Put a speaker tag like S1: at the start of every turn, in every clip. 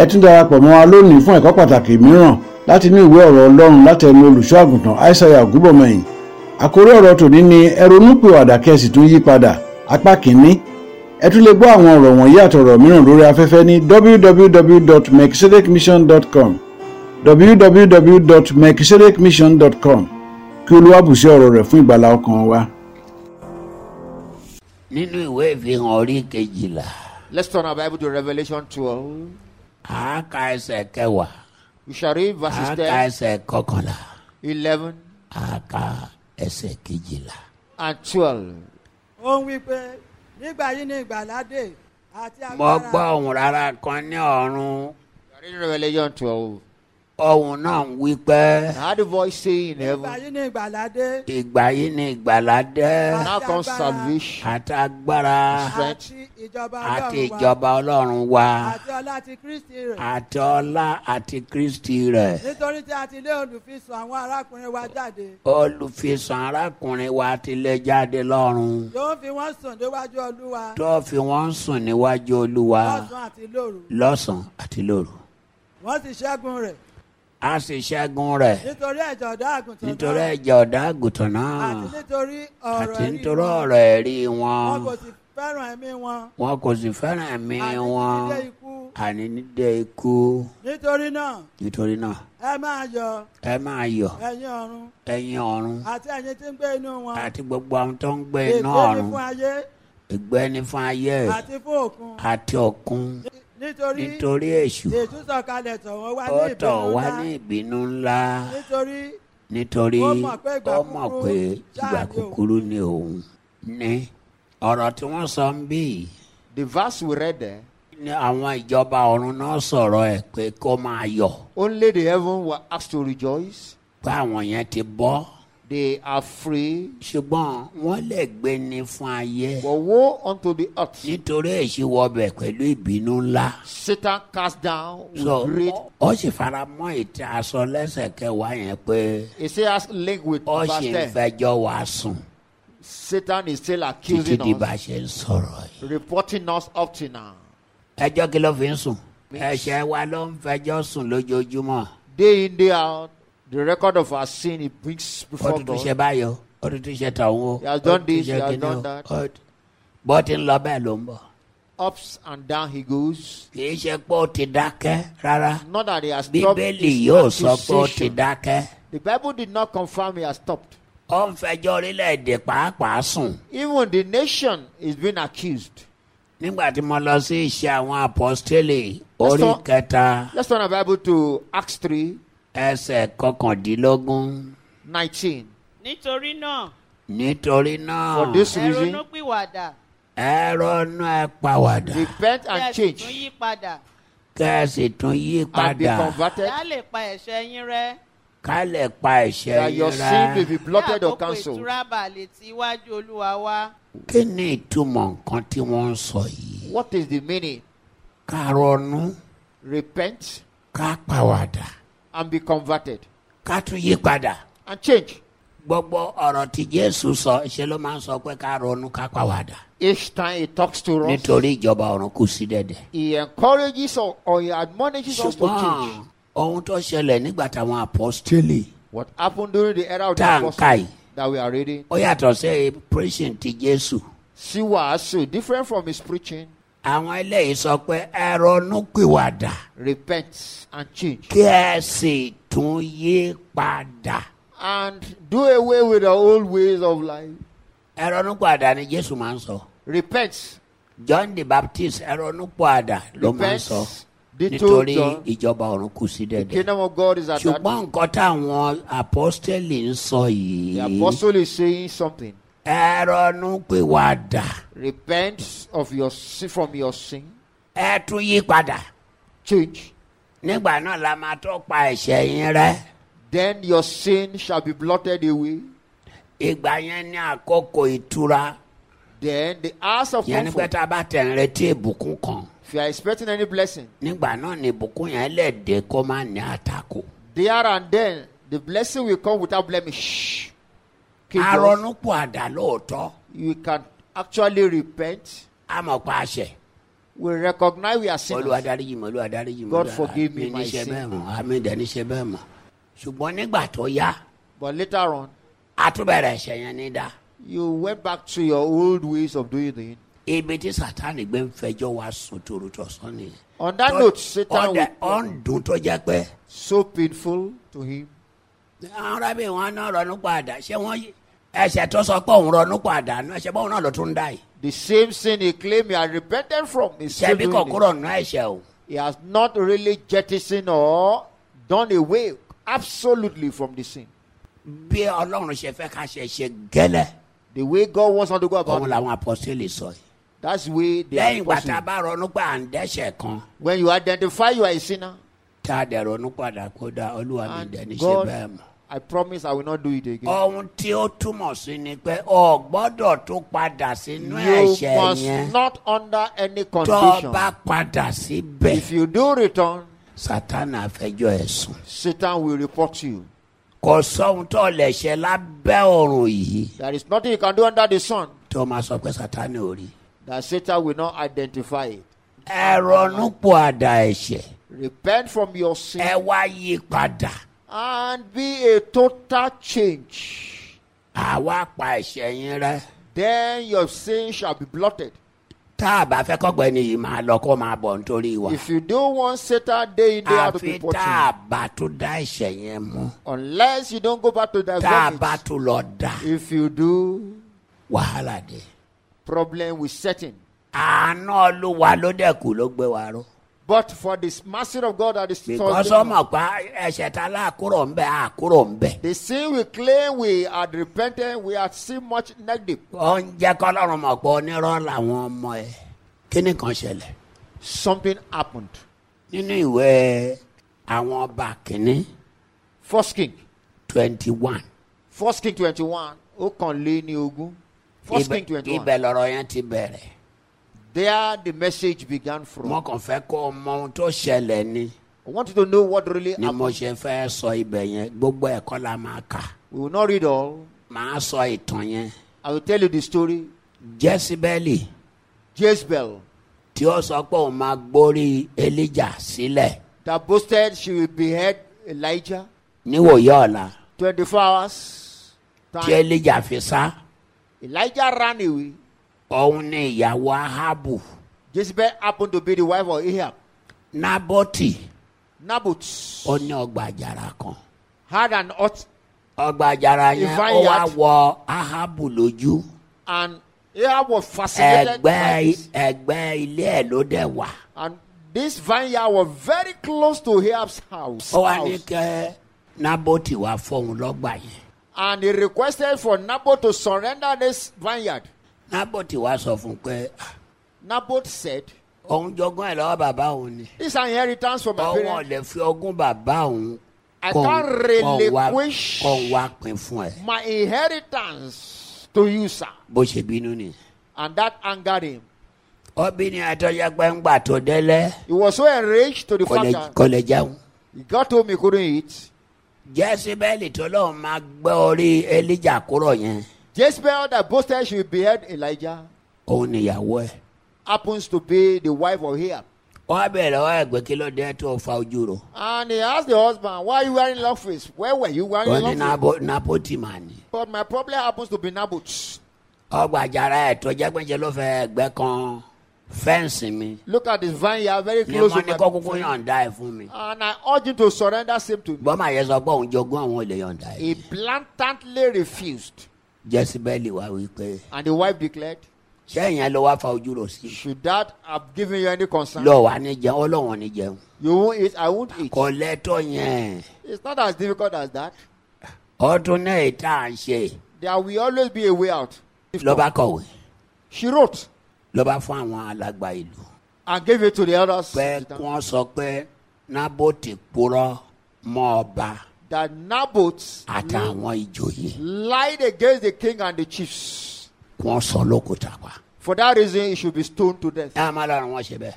S1: ẹ tún darapọ̀ mọ́ wa lónìí fún ẹ̀kọ́ pàtàkì mìíràn láti inú ìwé ọ̀rọ̀ ọlọ́run láti ẹnu olùṣọ́ àgùntàn aishaiya ògúbọ̀mọyìn àkórí ọ̀rọ̀ tòní ni ẹ ronúpìwàdà kẹ́ sì tún yí padà apá kìíní ẹ tún lè gbọ́ àwọn ọ̀rọ̀ wọ̀nyí àtọ̀rọ̀ mìíràn lórí afẹ́fẹ́ ní www.mekisedekmission.com www.mekisedekmission.com kí olúwa bùsí ọ̀rọ̀ rẹ̀ fún ìgbàlá ọkàn wa.
S2: nínú ìwé ìfihàn orí kejìlá
S3: Let's turn our Bible to Revelation 12.
S2: a ka ẹsẹ̀ kẹwàá
S3: We shall read verses
S2: a ka
S3: 10,
S2: ẹsẹ̀ kọkànlá
S3: 11,
S2: a ka ẹsẹ̀ kejìlá.
S3: and 12.
S4: ó ń wí pé nígbà yìí ni ìgbàlà dé àti
S2: mo gbọ́
S4: agbára
S2: ohùn rárá kan ní ọ̀run
S3: We are reading Revelation 12.
S2: ohùn náà ń wí pé
S3: I heard a voice saying in
S4: nígbà
S3: heaven,
S4: yìí ni ìgbàlà dé
S2: ìgbà yìí ni ìgbàlá dé
S3: Now comes salvation
S2: àti agbára
S4: àti ìjọba
S2: àti
S4: ọlọ́run wa
S2: ìjọba ọlọ́run wa
S4: àti ọlá ti kristi rẹ̀
S2: àti ọlá àti kristi rẹ̀
S4: nítorí tí a ti lé olùfisùn àwọn arákùnrin wa jáde
S2: olùfisàn arákùnrin wa ti lé jáde lọ́run
S4: yóò fi wọ́n sùn níwájú olúwa
S2: tó fi wọ́n sùn níwájú olúwa
S4: lọ́sàn-án àti lóru
S2: lọ́sàn-án àti lóru
S4: wọ́n sì ṣẹ́gun rẹ̀
S2: a sì ṣẹ́gun rẹ̀
S4: nítorí ẹ̀jẹ̀ ọ̀dọ́ àgùntàn
S2: nítorí
S4: náà
S2: ẹ̀jẹ̀ ọ̀dà àgùntàn náà
S4: àti nítorí ọ̀rọ̀
S2: àti
S4: ẹ̀rí
S2: nítorí
S4: wọn.
S2: ọ̀rọ̀ ẹ̀rí wọn
S4: wọn
S2: wọn kò
S4: kò sì fẹ́ràn ẹ̀mí wọn
S2: sì fẹ́ràn ẹ̀mí
S4: àti
S2: wọn
S4: dídé ikú
S2: àní nídẹ ikú
S4: nítorí náà
S2: nítorí náà
S4: ẹ máa yọ̀
S2: ẹ máa yọ̀
S4: ẹ̀yin ọ̀run
S2: ẹ̀yin ọ̀run
S4: àti ẹ̀yin tí ń gbé inú wọn
S2: àti gbogbo àwọn tó ń gbé iná
S4: ègbé ni
S2: ọ̀run
S4: fún ayé
S2: ìgbẹ́ni fún ayé
S4: àti fún òkun
S2: àti ọ̀kun
S4: nítorí
S2: Ah. nítorí èṣù
S4: ìtúsọ̀kalẹ̀ tọ̀wọ́ wá
S2: ó
S4: ní
S2: tọ̀
S4: ìbínú
S2: wá
S4: ńlá
S2: ní ìbínú ńlá
S4: nítorí
S2: nítorí
S4: Ó mọ̀ pé ìgbà
S2: ó mọ̀
S4: kúkúrú
S2: pé
S4: ṣáà
S2: ìgbà
S4: ni òun.
S2: kúkúrú ni òun ní ọ̀rọ̀ tí wọ́n sọ ń bí yìí
S3: The verse we read there,
S2: ní àwọn ìjọba ọ̀run náà sọ̀rọ̀ ẹ̀ pé kó máa yọ̀
S3: only the heaven were asked to rejoice.
S2: pé àwọn yẹn ti bọ́
S3: They are free.
S2: ṣùgbọ́n wọ́n lè gbé ní fún ayé
S3: But woe unto the earth.
S2: nítorí èsì wọbẹ̀ pẹ̀lú ìbínú ńlá.
S3: Satan cast down with
S2: so
S3: great.
S2: ó sì fara mọ́ ìtì aṣọ lẹ́sẹ̀ kẹwàá yẹn pé
S3: It says, as linked with
S2: ó
S3: verse
S2: sì ń
S3: 10.
S2: fẹjọ́ wá sùn
S3: Satan is still
S2: títí di
S3: accusing
S2: bá
S3: us,
S2: a ṣe ń sọ̀rọ̀ yìí.
S3: reporting us up to now.
S2: ẹjọ́ kí ló fi ń sùn ẹ̀ṣẹ̀ wa ló ń fẹjọ́ sùn lójoojúmọ́
S3: Day in, day out, the record of our sin it brings
S2: ó
S3: before
S2: tuntun ṣe
S3: God.
S2: báyọ̀ ó tuntun ṣe tọ̀hún o
S3: He has
S2: ó
S3: done
S2: tuntun
S3: this,
S2: ṣe
S3: he has
S2: kinní
S3: done
S2: o,
S3: that.
S2: ó- bó ti ń lọ bẹ́ẹ̀ ló ń bọ̀
S3: Ups and down he goes.
S2: kì í ṣe pé ó ti dákẹ́ rárá
S3: Not that he has stopped.
S2: bíbélì
S3: his
S2: yóò sọ pé ó ti
S3: accusation.
S2: dákẹ́.
S3: The Bible did not confirm he has stopped.
S2: ó ń fẹjọ́ orílẹ̀-èdè pàápàá sùn.
S3: Even the nation is being accused.
S2: nígbà tí mo lọ sí iṣẹ́ àwọn apọ́stélì orí
S3: Pásítọ̀-
S2: kẹta
S3: Let's turn our Bible to Acts 3
S2: ẹsẹ̀ kọkàndínlógún
S3: 19.
S5: nítorí náà
S2: nítorí náà
S3: For this
S5: ẹ
S3: reason,
S5: ronúpìwàdà
S2: ẹ ronú ẹ pàwàdà
S3: repent
S5: kí ẹ
S3: and
S5: sì tún
S3: change
S5: yí padà
S2: kẹ́ ẹ sì tún yí
S3: and be
S2: padà
S3: converted,
S5: kí á lè pa ẹ̀ṣẹ̀ yín rẹ́
S2: ká lè pa ẹ̀ṣẹ̀
S3: that your
S2: yín rá.
S3: sin may be
S5: kí
S3: blotted or
S5: àkókò
S3: cancelled.
S5: ìtura bà lè ti iwájú olúwa wá
S2: kí ni ìtumọ̀ nǹkan tí wọ́n ń sọ yìí?
S3: What is the meaning?
S2: ká ronú
S3: Repent
S2: ká pàwàdà
S3: and be converted
S2: ká tún yí padà.
S3: and change.
S2: gbogbo ọ̀rọ̀ tí jésù sọ ṣe ló máa ń sọ pé ká ronú ká pàwàdà.
S3: Each time he talks to us,
S2: nítorí ìjọba ọ̀run kù sí dẹ̀dẹ̀.
S3: he encourages or, or he admonishes us to
S2: ṣùgbọ́n
S3: change.
S2: ohun tó ṣẹlẹ̀ nígbà táwọn apọ́stélì
S3: What happened during the era of the
S2: Tá à ń kà
S3: apostles
S2: yìí.
S3: that we are reading,
S2: ó yàtọ̀ sí preaching ti jésù.
S3: see was so different from his preaching.
S2: àwọn eléyìí sọ pé ẹ ronú pìwàdà
S3: Repent and change
S2: kí ẹ sì tún yí padà.
S3: and do away with the old ways of life.
S2: ẹ ronú pìwàdà ni jésù máa ń sọ.
S3: Repent,
S2: john the baptist ẹ ronú pìwàdà ló máa ń sọ
S3: repent. They told
S2: nítorí
S3: John,
S2: ìjọba ọ̀run kù sí
S3: the
S2: dẹ̀dẹ̀.
S3: kingdom of God is at that.
S2: ṣùgbọ́n nǹkan táwọn apọ́stélì ń sọ
S3: The
S2: yìí
S3: apostle is saying something.
S2: ẹ ronú pìwàdà
S3: Repent of your sin from your sin.
S2: ẹ tún yí padà.
S3: Change.
S2: nígbà náà la máa tó pa ẹ̀ṣẹ̀ yín rẹ́
S3: Then your sin shall be blotted away.
S2: ìgbà yẹn ní àkókò ìtura
S3: Then the house of
S2: yẹn ní pé
S3: comfort.
S2: tá a bá tẹ̀ ń retí ìbùkún kan
S3: If you are expecting any blessing,
S2: nígbà náà ni ìbùkún yẹn lè dé kó má ní àtakò.
S3: there and then the blessing will come without blemish. Okay, just-
S2: aronúpọ̀ àdá lóòótọ́
S3: You can actually repent
S2: a mọ̀ pa àṣẹ
S3: we recognize we
S2: olúwa
S3: are sinners.
S2: dáríjì mí olúwa dáríjì mí
S3: God
S2: olúwa-
S3: forgive me
S2: mi ní
S3: my
S2: ṣe
S3: sin.
S2: bẹ́ẹ̀ mọ́ àmì ìdẹ́ni ṣe bẹ́ẹ̀ mọ́ ṣùgbọ́n nígbà tó yá
S3: But later on,
S2: àtúbẹ̀rẹ̀ ẹ̀ṣẹ̀ yẹn ní dá
S3: you went back to your old ways of doing things.
S2: ibi tí sátánì gbé ń fẹjọ́ wa sùn torútọ̀sán nìyẹn.
S3: On that note, Satan
S2: ọ̀dẹ̀
S3: was
S2: ọ̀ǹdùn tó jẹ́ pé
S3: so painful to him.
S2: àwọn rábì wọn náà ronú padà ṣé wọ́n yí- ẹ̀ṣẹ̀ tó sọ pé òun ronú padà náà ṣe báwọn náà ló tún dá yìí.
S3: The same sin he claimed he had repented from is still
S2: ṣebí kò
S3: doing it.
S2: kúrò nù ẹ̀ṣẹ̀ o
S3: He has not really jettisoned or done away absolutely from the sin.
S2: bí ọlọ́run ṣe fẹ́ ká ṣe ṣe gẹ́lẹ́
S3: The way God wants us to go about
S2: òun
S3: it,
S2: làwọn apọ́sítélì sọ yìí.
S3: that's the way
S2: lẹ́yìn
S3: they are
S2: ìgbà tá a
S3: possible.
S2: bá ronú pé à ń dẹ́ṣẹ̀ kan
S3: When you identify you are a sinner,
S2: tá a dẹ̀ ronú padà kó da olúwa mi dẹ̀ ní
S3: and
S2: ṣe
S3: God,
S2: bẹ́ẹ̀ mọ́.
S3: I promise I will not do it again.
S2: ohun tí ó túmọ̀ sí ni pé o gbọ́dọ̀ tún padà sínú
S3: You
S2: ẹ̀ṣẹ̀ yẹn
S3: must not under any
S2: tó o
S3: condition.
S2: bá padà síbẹ̀
S3: If you do return,
S2: sátánà àfẹjọ́ ẹ̀sùn.
S3: Satan will report you.
S2: kò sóhun tó lè ṣe lábẹ́ ọ̀run yìí
S3: There is nothing you can do under the sun
S2: tó máa sọ pé sátánì ò rí.
S3: that Satan will not identify it.
S2: ẹ ronú padà ẹ̀ṣẹ̀
S3: Repent from your sin
S2: ẹ wá yí padà
S3: and be a total change.
S2: àwa pa ẹ̀ṣẹ̀ yín rẹ́.
S3: Then your sin shall be blotted.
S2: tá a bá fẹ́ kọ́gbẹ́ ni yìí máa lọ kó máa bọ̀ nítorí wa.
S3: If you don't want Satan day in, day out to
S2: àfi
S3: be watching,
S2: tá a bá tún dá ẹ̀ṣẹ̀ yẹn mú
S3: unless you don't go back to that
S2: tá a
S3: vomit,
S2: bá tún lọ dá
S3: if you do,
S2: wàhálà dé.
S3: problem will set in.
S2: àánú olúwa ló dẹ̀kù ló gbé wa ró.
S3: But for this mercy of God that is
S2: because
S3: forgiven,
S2: ọmọ pa ẹ̀ṣẹ̀ ta láàkúrò ń bẹ̀ àkúrò ń bẹ̀.
S3: the sin we claim we had repented, we had seen much negative.
S2: ó ń jẹ́ kọ́lọ́run mọ̀ pé onírọ́ làwọn ọmọ ẹ̀ kíní kan ṣẹlẹ̀
S3: Something happened.
S2: nínú ìwé àwọn ọba kìíní
S3: First King,
S2: twenty one
S3: First King twenty-one, Okanleni Ogun. First King twenty-one.
S2: ibẹ̀ lọ́rọ̀ yẹn ti bẹ̀rẹ̀
S3: There the message began from.
S2: mo kàn fẹ́ kó o mọ ohun tó ṣẹlẹ̀ ni
S3: I want you to know what really
S2: ni mo ṣe
S3: happened.
S2: fẹ́ sọ ibẹ̀ yẹn gbogbo ẹ̀kọ́ la máa kà
S3: We will not read all.
S2: máa sọ ìtàn yẹn
S3: I will tell you the story.
S2: jẹ́síbẹ́lì
S3: Jezebel
S2: tí ó sọ pé òun máa gbórí elija sílẹ̀
S3: that boasted she will behead Elijah.
S2: níwòye ọ̀la
S3: 24 hours.
S2: tí
S3: Time.
S2: elija fi sá
S3: Elijah ran away.
S2: òun ni ìyàwó ahabu
S3: Jezebel happened to be the wife of Ahab.
S2: naboti.
S3: Naboth
S2: ó ní ọgbà àjàrà kan
S3: had an hot
S2: ọgbà àjàrà yẹn ó wá
S3: Ìfáyàt.
S2: wọ ahabu lójú
S3: and Ahab was fascinated by
S2: ẹgbẹ
S3: this.
S2: ẹgbẹ ilé ẹ ló dẹ wà
S3: And this vineyard was very close to Ahab's house.
S2: ó wá ní
S3: house.
S2: kẹ naboti wá fóun lọgbà yẹn
S3: And he requested for Naboth to surrender this vineyard.
S2: naboti wá sọ fún un pé "Ah,
S3: Naboth said,
S2: òun jogún ẹ lọwọ bàbá òun ni
S3: This inheritance from my
S2: òun ò
S3: parents,
S2: lè fi ogún bàbá òun
S3: I
S2: kó
S3: can't
S2: kó wá
S3: relinquish-
S2: kó wá pín fún ẹ
S3: my inheritance to you, sir.
S2: bó ṣe bínú ni
S3: And that angered him.
S2: ó bí ní àtọ́jà pé ńgbà tó délẹ̀
S3: He was so enraged to the
S2: kò
S3: fact
S2: lè-
S3: that
S2: kò lè jẹun.
S3: he got home, he couldn't eat.
S2: jẹ́síbẹ́lì tó lóun máa gbẹ́ orí elija kúrò yẹn
S3: Jezebel that boasted she behead Elijah
S2: òun níyàwó ẹ̀.
S3: happens to be the wife of Ahab.
S2: wọ́n bẹ̀rẹ̀ lọ́wọ́ ẹ̀gbẹ́ kí ló dé tó fa ojú ro.
S3: And he asked the husband, Why are you wearing long face? Where were you
S2: wọ́n ní
S3: wearing long face?
S2: Nabo- napoti mà ní.
S3: But my problem happens to be Naboth.
S2: ọgbà àjàrà ẹ̀ tó jẹ́ pẹ́ńṣẹ́ ló fẹ́ ẹgbẹ́ kan fẹ́ǹsì mi.
S3: Look at this vineyard very
S2: ni
S3: close
S2: wọ́n ní
S3: to
S2: kó
S3: my
S2: kúkú yọ̀ǹda ẹ̀ fún mi.
S3: And I urge him to surrender same to me.
S2: gbọ́n máa yẹ sọ pé òun jogún àwọn olè yọ̀ǹda ẹ̀.
S3: He blatantly refused.
S2: jẹ́síbẹ́lì wá wí pé
S3: And the wife declared,
S2: sẹ́yìn ẹ̀ ló wá fa ojú ro sí.
S3: Should that have given you any concern?
S2: lọ wà ní jẹun ọlọ́wọ̀n ní jẹun.
S3: You won't eat, I won't eat.
S2: kò lẹ́tọ̀ yẹn.
S3: It's not as difficult as that.
S2: ọdún náà ìta à ń ṣe
S3: There will always be a way out.
S2: lọ́ba kọ̀wé
S3: She wrote
S2: lọ́ba fún àwọn alàgbà ìlú.
S3: and gave it to the elders
S2: pé kí wọ́n sọ pé nábòtì purọ́ mọ́ ọba
S3: that Naboth
S2: àtàwọn ìjòyè
S3: lied against the king and the chiefs.
S2: kí wọ́n sọ lókùtà pa.
S3: For that reason, he should be stoned to death.
S2: ẹ á máa lọ́rùn wọn ṣe bẹ́ẹ̀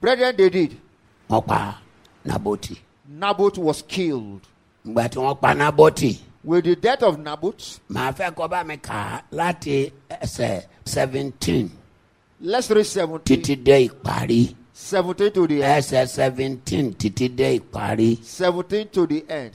S3: Brethren, they did.
S2: wọ́n pa nábòtì.
S3: Naboth was killed.
S2: ìgbà tí wọ́n pa nábòtì
S3: With the death of Naboth,
S2: màá fẹ́ kọ́ bá mi kà á láti ẹsẹ̀ seventeen
S3: Let's read 17.
S2: títí dé ìparí
S3: 17 to the end.
S2: ẹsẹ̀ seventeen títí dé ìparí.
S3: 17 to the end.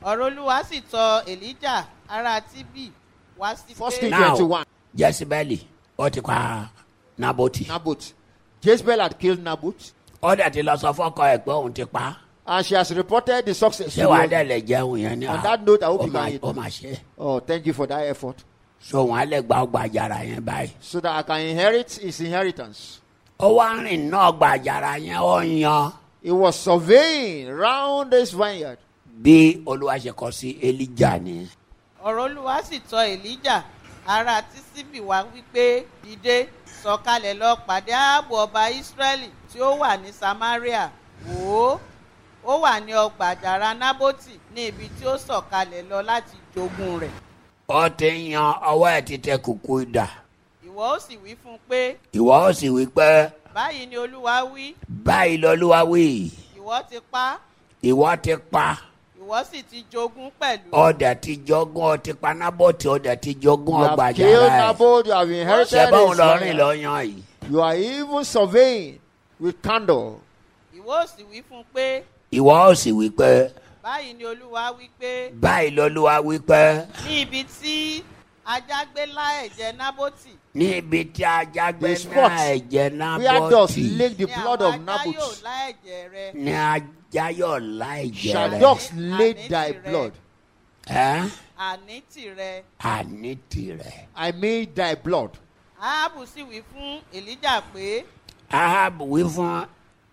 S5: ọ̀rọ̀ olúwa sì tọ elijah ará tíbì wá sí
S3: First
S5: pé
S3: King
S2: Now.
S3: 21.
S2: jẹ́sibẹ́lì ó ti pa naboti
S3: Naboth. Jezebel had killed Naboth,
S2: ó dẹ̀ ti lọ sọ fọ́kọ ẹ̀ pé òun ti pa á.
S3: and she has reported the success.
S2: ṣé wàá dẹ̀ lè jẹun yẹn ni
S3: On
S2: ah,
S3: that note, I hope
S2: ó
S3: you
S2: máa-
S3: can eat.
S2: ó máa ṣe é.
S3: Oh, thank you for that effort.
S2: so wọn á lè gba ọgbà àjàrà yẹn báyìí.
S3: So that I can inherit his inheritance.
S2: ó wá ń rìn náà ọgbà àjàrà yẹn ó ń yan
S3: He was surveying round this vineyard.
S2: bí olúwa ṣe kọ sí elija ni.
S5: ọ̀rọ̀ olúwa sì tọ elijah ará tíṣíbì wá wípé dìde sọ̀kalẹ̀ lọ pàdé ààbò ọba ísírẹ́lì tí ó wà ní samaria wò ó ó wà ní ọgbà àjàrà nábótì ní ibi tí ó sọ̀kalẹ̀ lọ láti jogún rẹ̀
S2: ó ti ń yan ọwọ́ ẹ̀ ti tẹ kùkú idà.
S5: ìwọ ó sì wí fún un pé
S2: ìwọ ó sì wí pé
S5: báyìí ni olúwa wí
S2: báyìí lolúwa wí
S5: ìwọ ti pa á,
S2: ìwọ ti pa
S5: ìwọ sì ti jogún pẹ̀lú
S2: ó dẹ̀ ti jogún ó ti pa naboti ó dẹ̀ ti jogún
S3: You
S2: ọgbà
S3: have killed
S2: àjàrà ẹ̀.
S3: Naboth, you have
S2: ṣe
S3: inherited
S2: báwọn
S3: his
S2: lọ rìn lọ
S3: vineyard.
S2: yan yìí.
S3: You are even surveying with candor.
S5: ìwọ ó sì wí fún un pé
S2: ìwọ ó sì wí pé
S5: báyìí ni olúwa wí pé
S2: báyìí lolúwa wí pé
S5: ní ibi tí ajá gbé lá ẹ̀jẹ̀ nábótì
S2: ní ibi tí ajá gbé
S3: The spot
S2: náà ẹ̀jẹ̀
S3: Where does
S2: nábọ́tì
S3: lick the
S5: ni
S3: blood of
S5: àwọn ajá yóò
S3: Naboth?
S5: lá ẹ̀jẹ̀ rẹ
S2: ni ajá yóò lá ẹ̀jẹ̀
S3: Shall
S5: Shadow.
S2: rẹ̀.
S3: dogs lay thy
S5: Àní tirẹ̀.
S3: blood?
S2: Ẹ́
S5: àní tìrẹ
S2: àní tirẹ̀.
S3: I mean thy blood.
S5: áhábù sì wí fún èlíjà pé
S2: ahab wí fún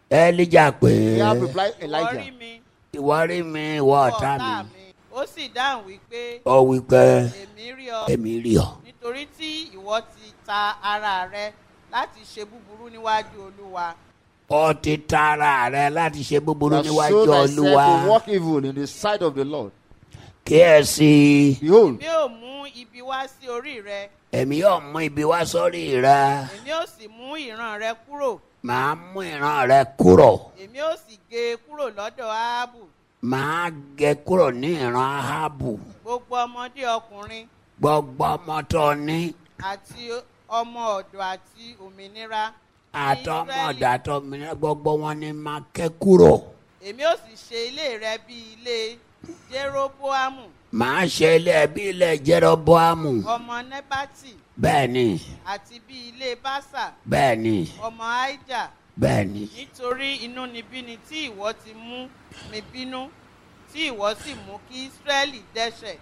S2: elija pé
S3: He have replied
S5: ìwọ rí
S3: Elijah.
S5: mi
S2: ìwọ rí mi ìwọ
S5: ìwọ
S2: ọ̀tá mi.
S5: mi ó sì dáhùn wí pé
S2: ó wí pé
S5: èmi rí ọ
S2: èmi rí ọ.
S5: nítorí tí ìwọ ti ta ara rẹ láti ṣe búburú níwájú olúwa
S2: ó ti ta ara rẹ̀ láti ṣe búburú
S3: Thou
S2: níwájú
S3: sold thyself
S2: olúwa
S3: to walk evil in the sight of the Lord.
S2: kí ẹ sí i.
S3: Behold,
S5: mi ò mú ibi wá sí orí rẹ
S2: èmi yóò mú ibi wá sórí rẹ
S5: èmi ò sì mú ìran rẹ kúrò
S2: màá mú ìran rẹ kúrò
S5: èmi ò sì gé e kúrò lọ́dọ̀ áhábù
S2: màá gé kúrò ní ìran ahabu
S5: gbogbo ọmọdé ọkùnrin
S2: gbogbo ọmọ tó ní
S5: àti ọmọ ọ̀dọ̀ àti òmìnira ní Ísírẹ́lì.
S2: àtọmọdé àtọmọdé gbogbo wọn ni màá ké kúrò
S5: èmi ò sì ṣe ilé rẹ bí ilé jeroboamu
S2: màá ṣe ilé ẹbí ilé jeroboamu
S5: ọmọ nebati
S2: bẹ́ẹ̀ ni
S5: àti bí ilé basa
S2: bẹ́ẹ̀ ni
S5: ọmọ aija
S2: bẹ́ẹ̀ ni
S5: nítorí inúnibíni tí ìwọ ti mú mi bínú tí ìwọ sì mú kí israẹli dẹ́ṣẹ̀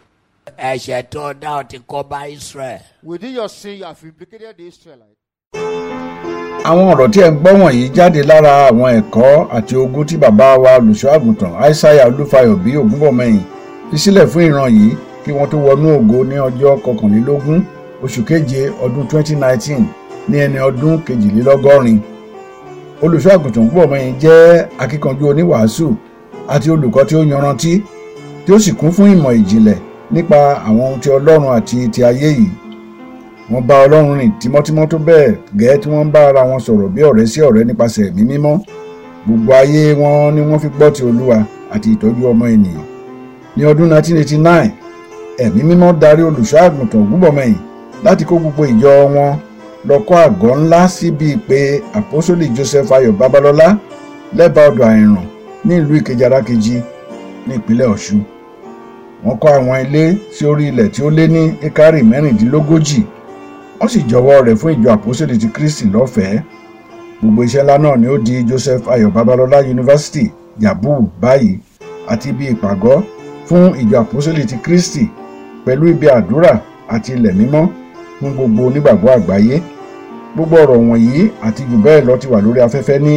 S2: ẹ̀ṣẹ̀ tó dá ọ ti kó bá israel.
S3: within your sin you have implicated the Israelites.
S1: àwọn ọ̀rọ̀ tí ẹ̀ ń gbọ́ wọ̀nyí jáde lára àwọn ẹ̀kọ́ àti ogún tí bàbá wa olùṣọ́ àgùntàn aishaiya olúfayọ bí ògúnbọ̀mọyìn fi sílẹ̀ fún ìran yìí kí wọ́n tó wọnú ògo ní ọjọ́ kọkànlélógún oṣù keje ọdún 2019 ní ẹni ọdún kejìlélọ́gọ́rin olùṣọ́ àgùntàn ògúnbọ̀mọyìn jẹ́ akíkanjú oníwàásù àti olùkọ́ tí ó yanrantí tí ó sì kún fún ìmọ̀ ìjìnlẹ̀ nípa àwọn ohun ti ọlọ́run àti ti ayé yìí wọ́n bá ọlọ́run rìn tímọ́tímọ́ tó bẹ́ẹ̀ gẹ́ẹ́ tí wọ́n ń bá ara wọn sọ̀rọ̀ bí ọ̀rẹ́ sí ọ̀rẹ́ nípasẹ̀ ẹ̀mí mímọ́ gbogbo ayé wọn ni wọ́n fi gbọ́ ti olúwa àti ìtọ́jú ọmọ ènìyàn ní ọdún 1989 ẹ̀mí mímọ́ darí olùṣọ́ àgùntàn ògúnbọ̀mọyìn láti kó gbogbo ìjọ wọn lọ kọ́ àgọ́ ńlá síbi pé àpọ́sólì joseph ayọ̀ babalọ́lá lẹ́bàá ọ̀dọ̀ àìràn ní ìlú ìkejì arákejì ní ìpínlẹ̀ ọ̀ṣun wọ́n kọ́ àwọn ilé sí orí ilẹ̀ tí ó lé ní ekari mẹ́rìndínlógójì wọ́n sì jọwọ́ rẹ̀ fún ìjọ àpòsílẹ̀ ti kristi lọ́fẹ̀ẹ́ gbogbo iṣẹ́ ńlá náà ni ó di joseph ayọ̀ babalọ́lá yunifásitì yabu báyìí àti ibi ìpàgọ́ fún ìjọ àpòsílẹ̀ ti kristi pẹ̀lú ibi àdúrà àti ilẹ̀ mímọ́ fún gbogbo onígbàgbọ́ àgbáyé gbogbo ọ̀rọ̀ wọ̀nyí àti jù bẹ́ẹ̀ lọ ti wà lórí afẹ́fẹ́ ní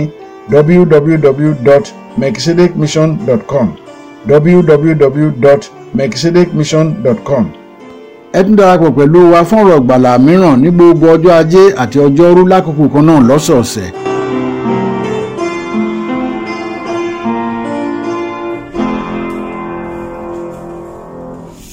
S1: www.mekisedekmission.com www.mekisedekmission.com ẹ tún darapọ̀ pẹ̀lú wa fún ọ̀rọ̀ ìgbàlà mìíràn ní gbogbo ọjọ́ ajé àti ọjọ́rú lákòókò kan náà lọ́sọ̀ọ̀sẹ̀